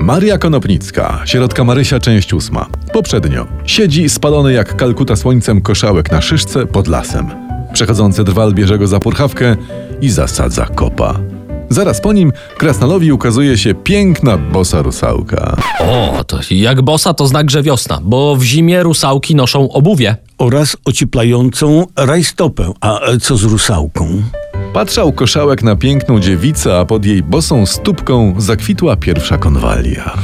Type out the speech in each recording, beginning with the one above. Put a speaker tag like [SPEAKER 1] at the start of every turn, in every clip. [SPEAKER 1] Maria Konopnicka, środka Marysia, część ósma. Poprzednio. Siedzi spalony jak kalkuta słońcem koszałek na szyszce pod lasem. Przechodzący drwal bierze go za purchawkę i zasadza kopa. Zaraz po nim krasnalowi ukazuje się piękna bosa rusałka.
[SPEAKER 2] O, to jak bosa to znak, że wiosna, bo w zimie rusałki noszą obuwie.
[SPEAKER 3] oraz ocieplającą rajstopę. A e, co z rusałką?
[SPEAKER 1] Patrzał koszałek na piękną dziewicę, a pod jej bosą stópką zakwitła pierwsza konwalia.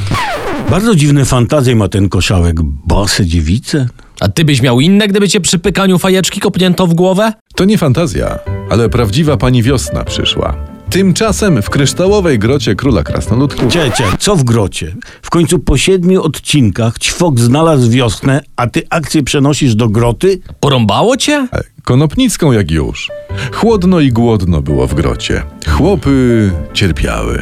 [SPEAKER 3] Bardzo dziwne fantazje ma ten koszałek. Bose dziewice?
[SPEAKER 2] A ty byś miał inne, gdyby cię przy pykaniu fajeczki kopnięto w głowę?
[SPEAKER 1] To nie fantazja, ale prawdziwa pani wiosna przyszła. Tymczasem w kryształowej grocie króla krasnoludków
[SPEAKER 3] Ciecie, co w grocie? W końcu po siedmiu odcinkach ćwok znalazł wiosnę, a ty akcję przenosisz do groty?
[SPEAKER 2] Porąbało cię?
[SPEAKER 1] e, konopnicką jak już. Chłodno i głodno było w grocie. Chłopy cierpiały.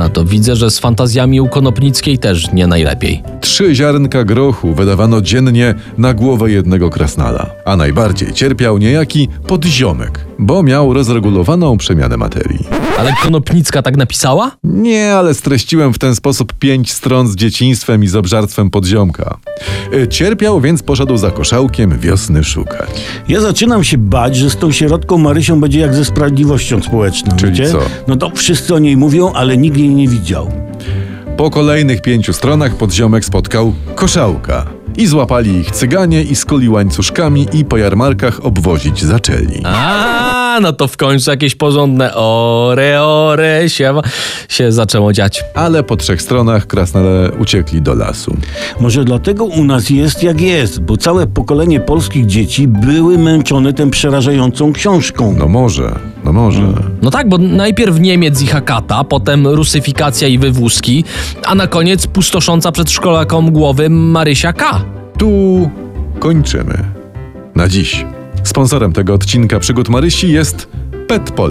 [SPEAKER 2] A to widzę, że z fantazjami u Konopnickiej też nie najlepiej.
[SPEAKER 1] Trzy ziarnka grochu wydawano dziennie na głowę jednego krasnala, a najbardziej cierpiał niejaki podziomek, bo miał rozregulowaną przemianę materii.
[SPEAKER 2] Ale Konopnicka tak napisała?
[SPEAKER 1] Nie, ale streściłem w ten sposób pięć stron z dzieciństwem i z obżarstwem podziomka. Y, Cierpiał, więc poszedł za koszałkiem wiosny szukać.
[SPEAKER 3] Ja zaczynam się bać, że z tą sierotką Marysią będzie jak ze sprawiedliwością społeczną.
[SPEAKER 1] Czyli
[SPEAKER 3] wiecie?
[SPEAKER 1] co?
[SPEAKER 3] No to wszyscy o niej mówią, ale nikt jej nie widział.
[SPEAKER 1] Po kolejnych pięciu stronach podziomek spotkał koszałka. I złapali ich cyganie i skuli łańcuszkami i po jarmarkach obwozić zaczęli.
[SPEAKER 2] A, no to w końcu jakieś porządne ore, ore się, się zaczęło dziać.
[SPEAKER 1] Ale po trzech stronach krasnale uciekli do lasu.
[SPEAKER 3] Może dlatego u nas jest jak jest, bo całe pokolenie polskich dzieci były męczone tą przerażającą książką.
[SPEAKER 1] No może, no może.
[SPEAKER 2] No tak, bo najpierw Niemiec i Hakata, potem rusyfikacja i wywózki, a na koniec pustosząca przed szkolakom głowy Marysia K.
[SPEAKER 1] Tu kończymy. Na dziś. Sponsorem tego odcinka Przygód Marysi jest Petpol,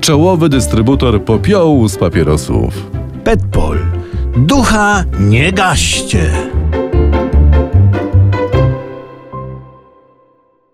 [SPEAKER 1] czołowy dystrybutor popiołu z papierosów.
[SPEAKER 3] Petpol. Ducha nie gaście.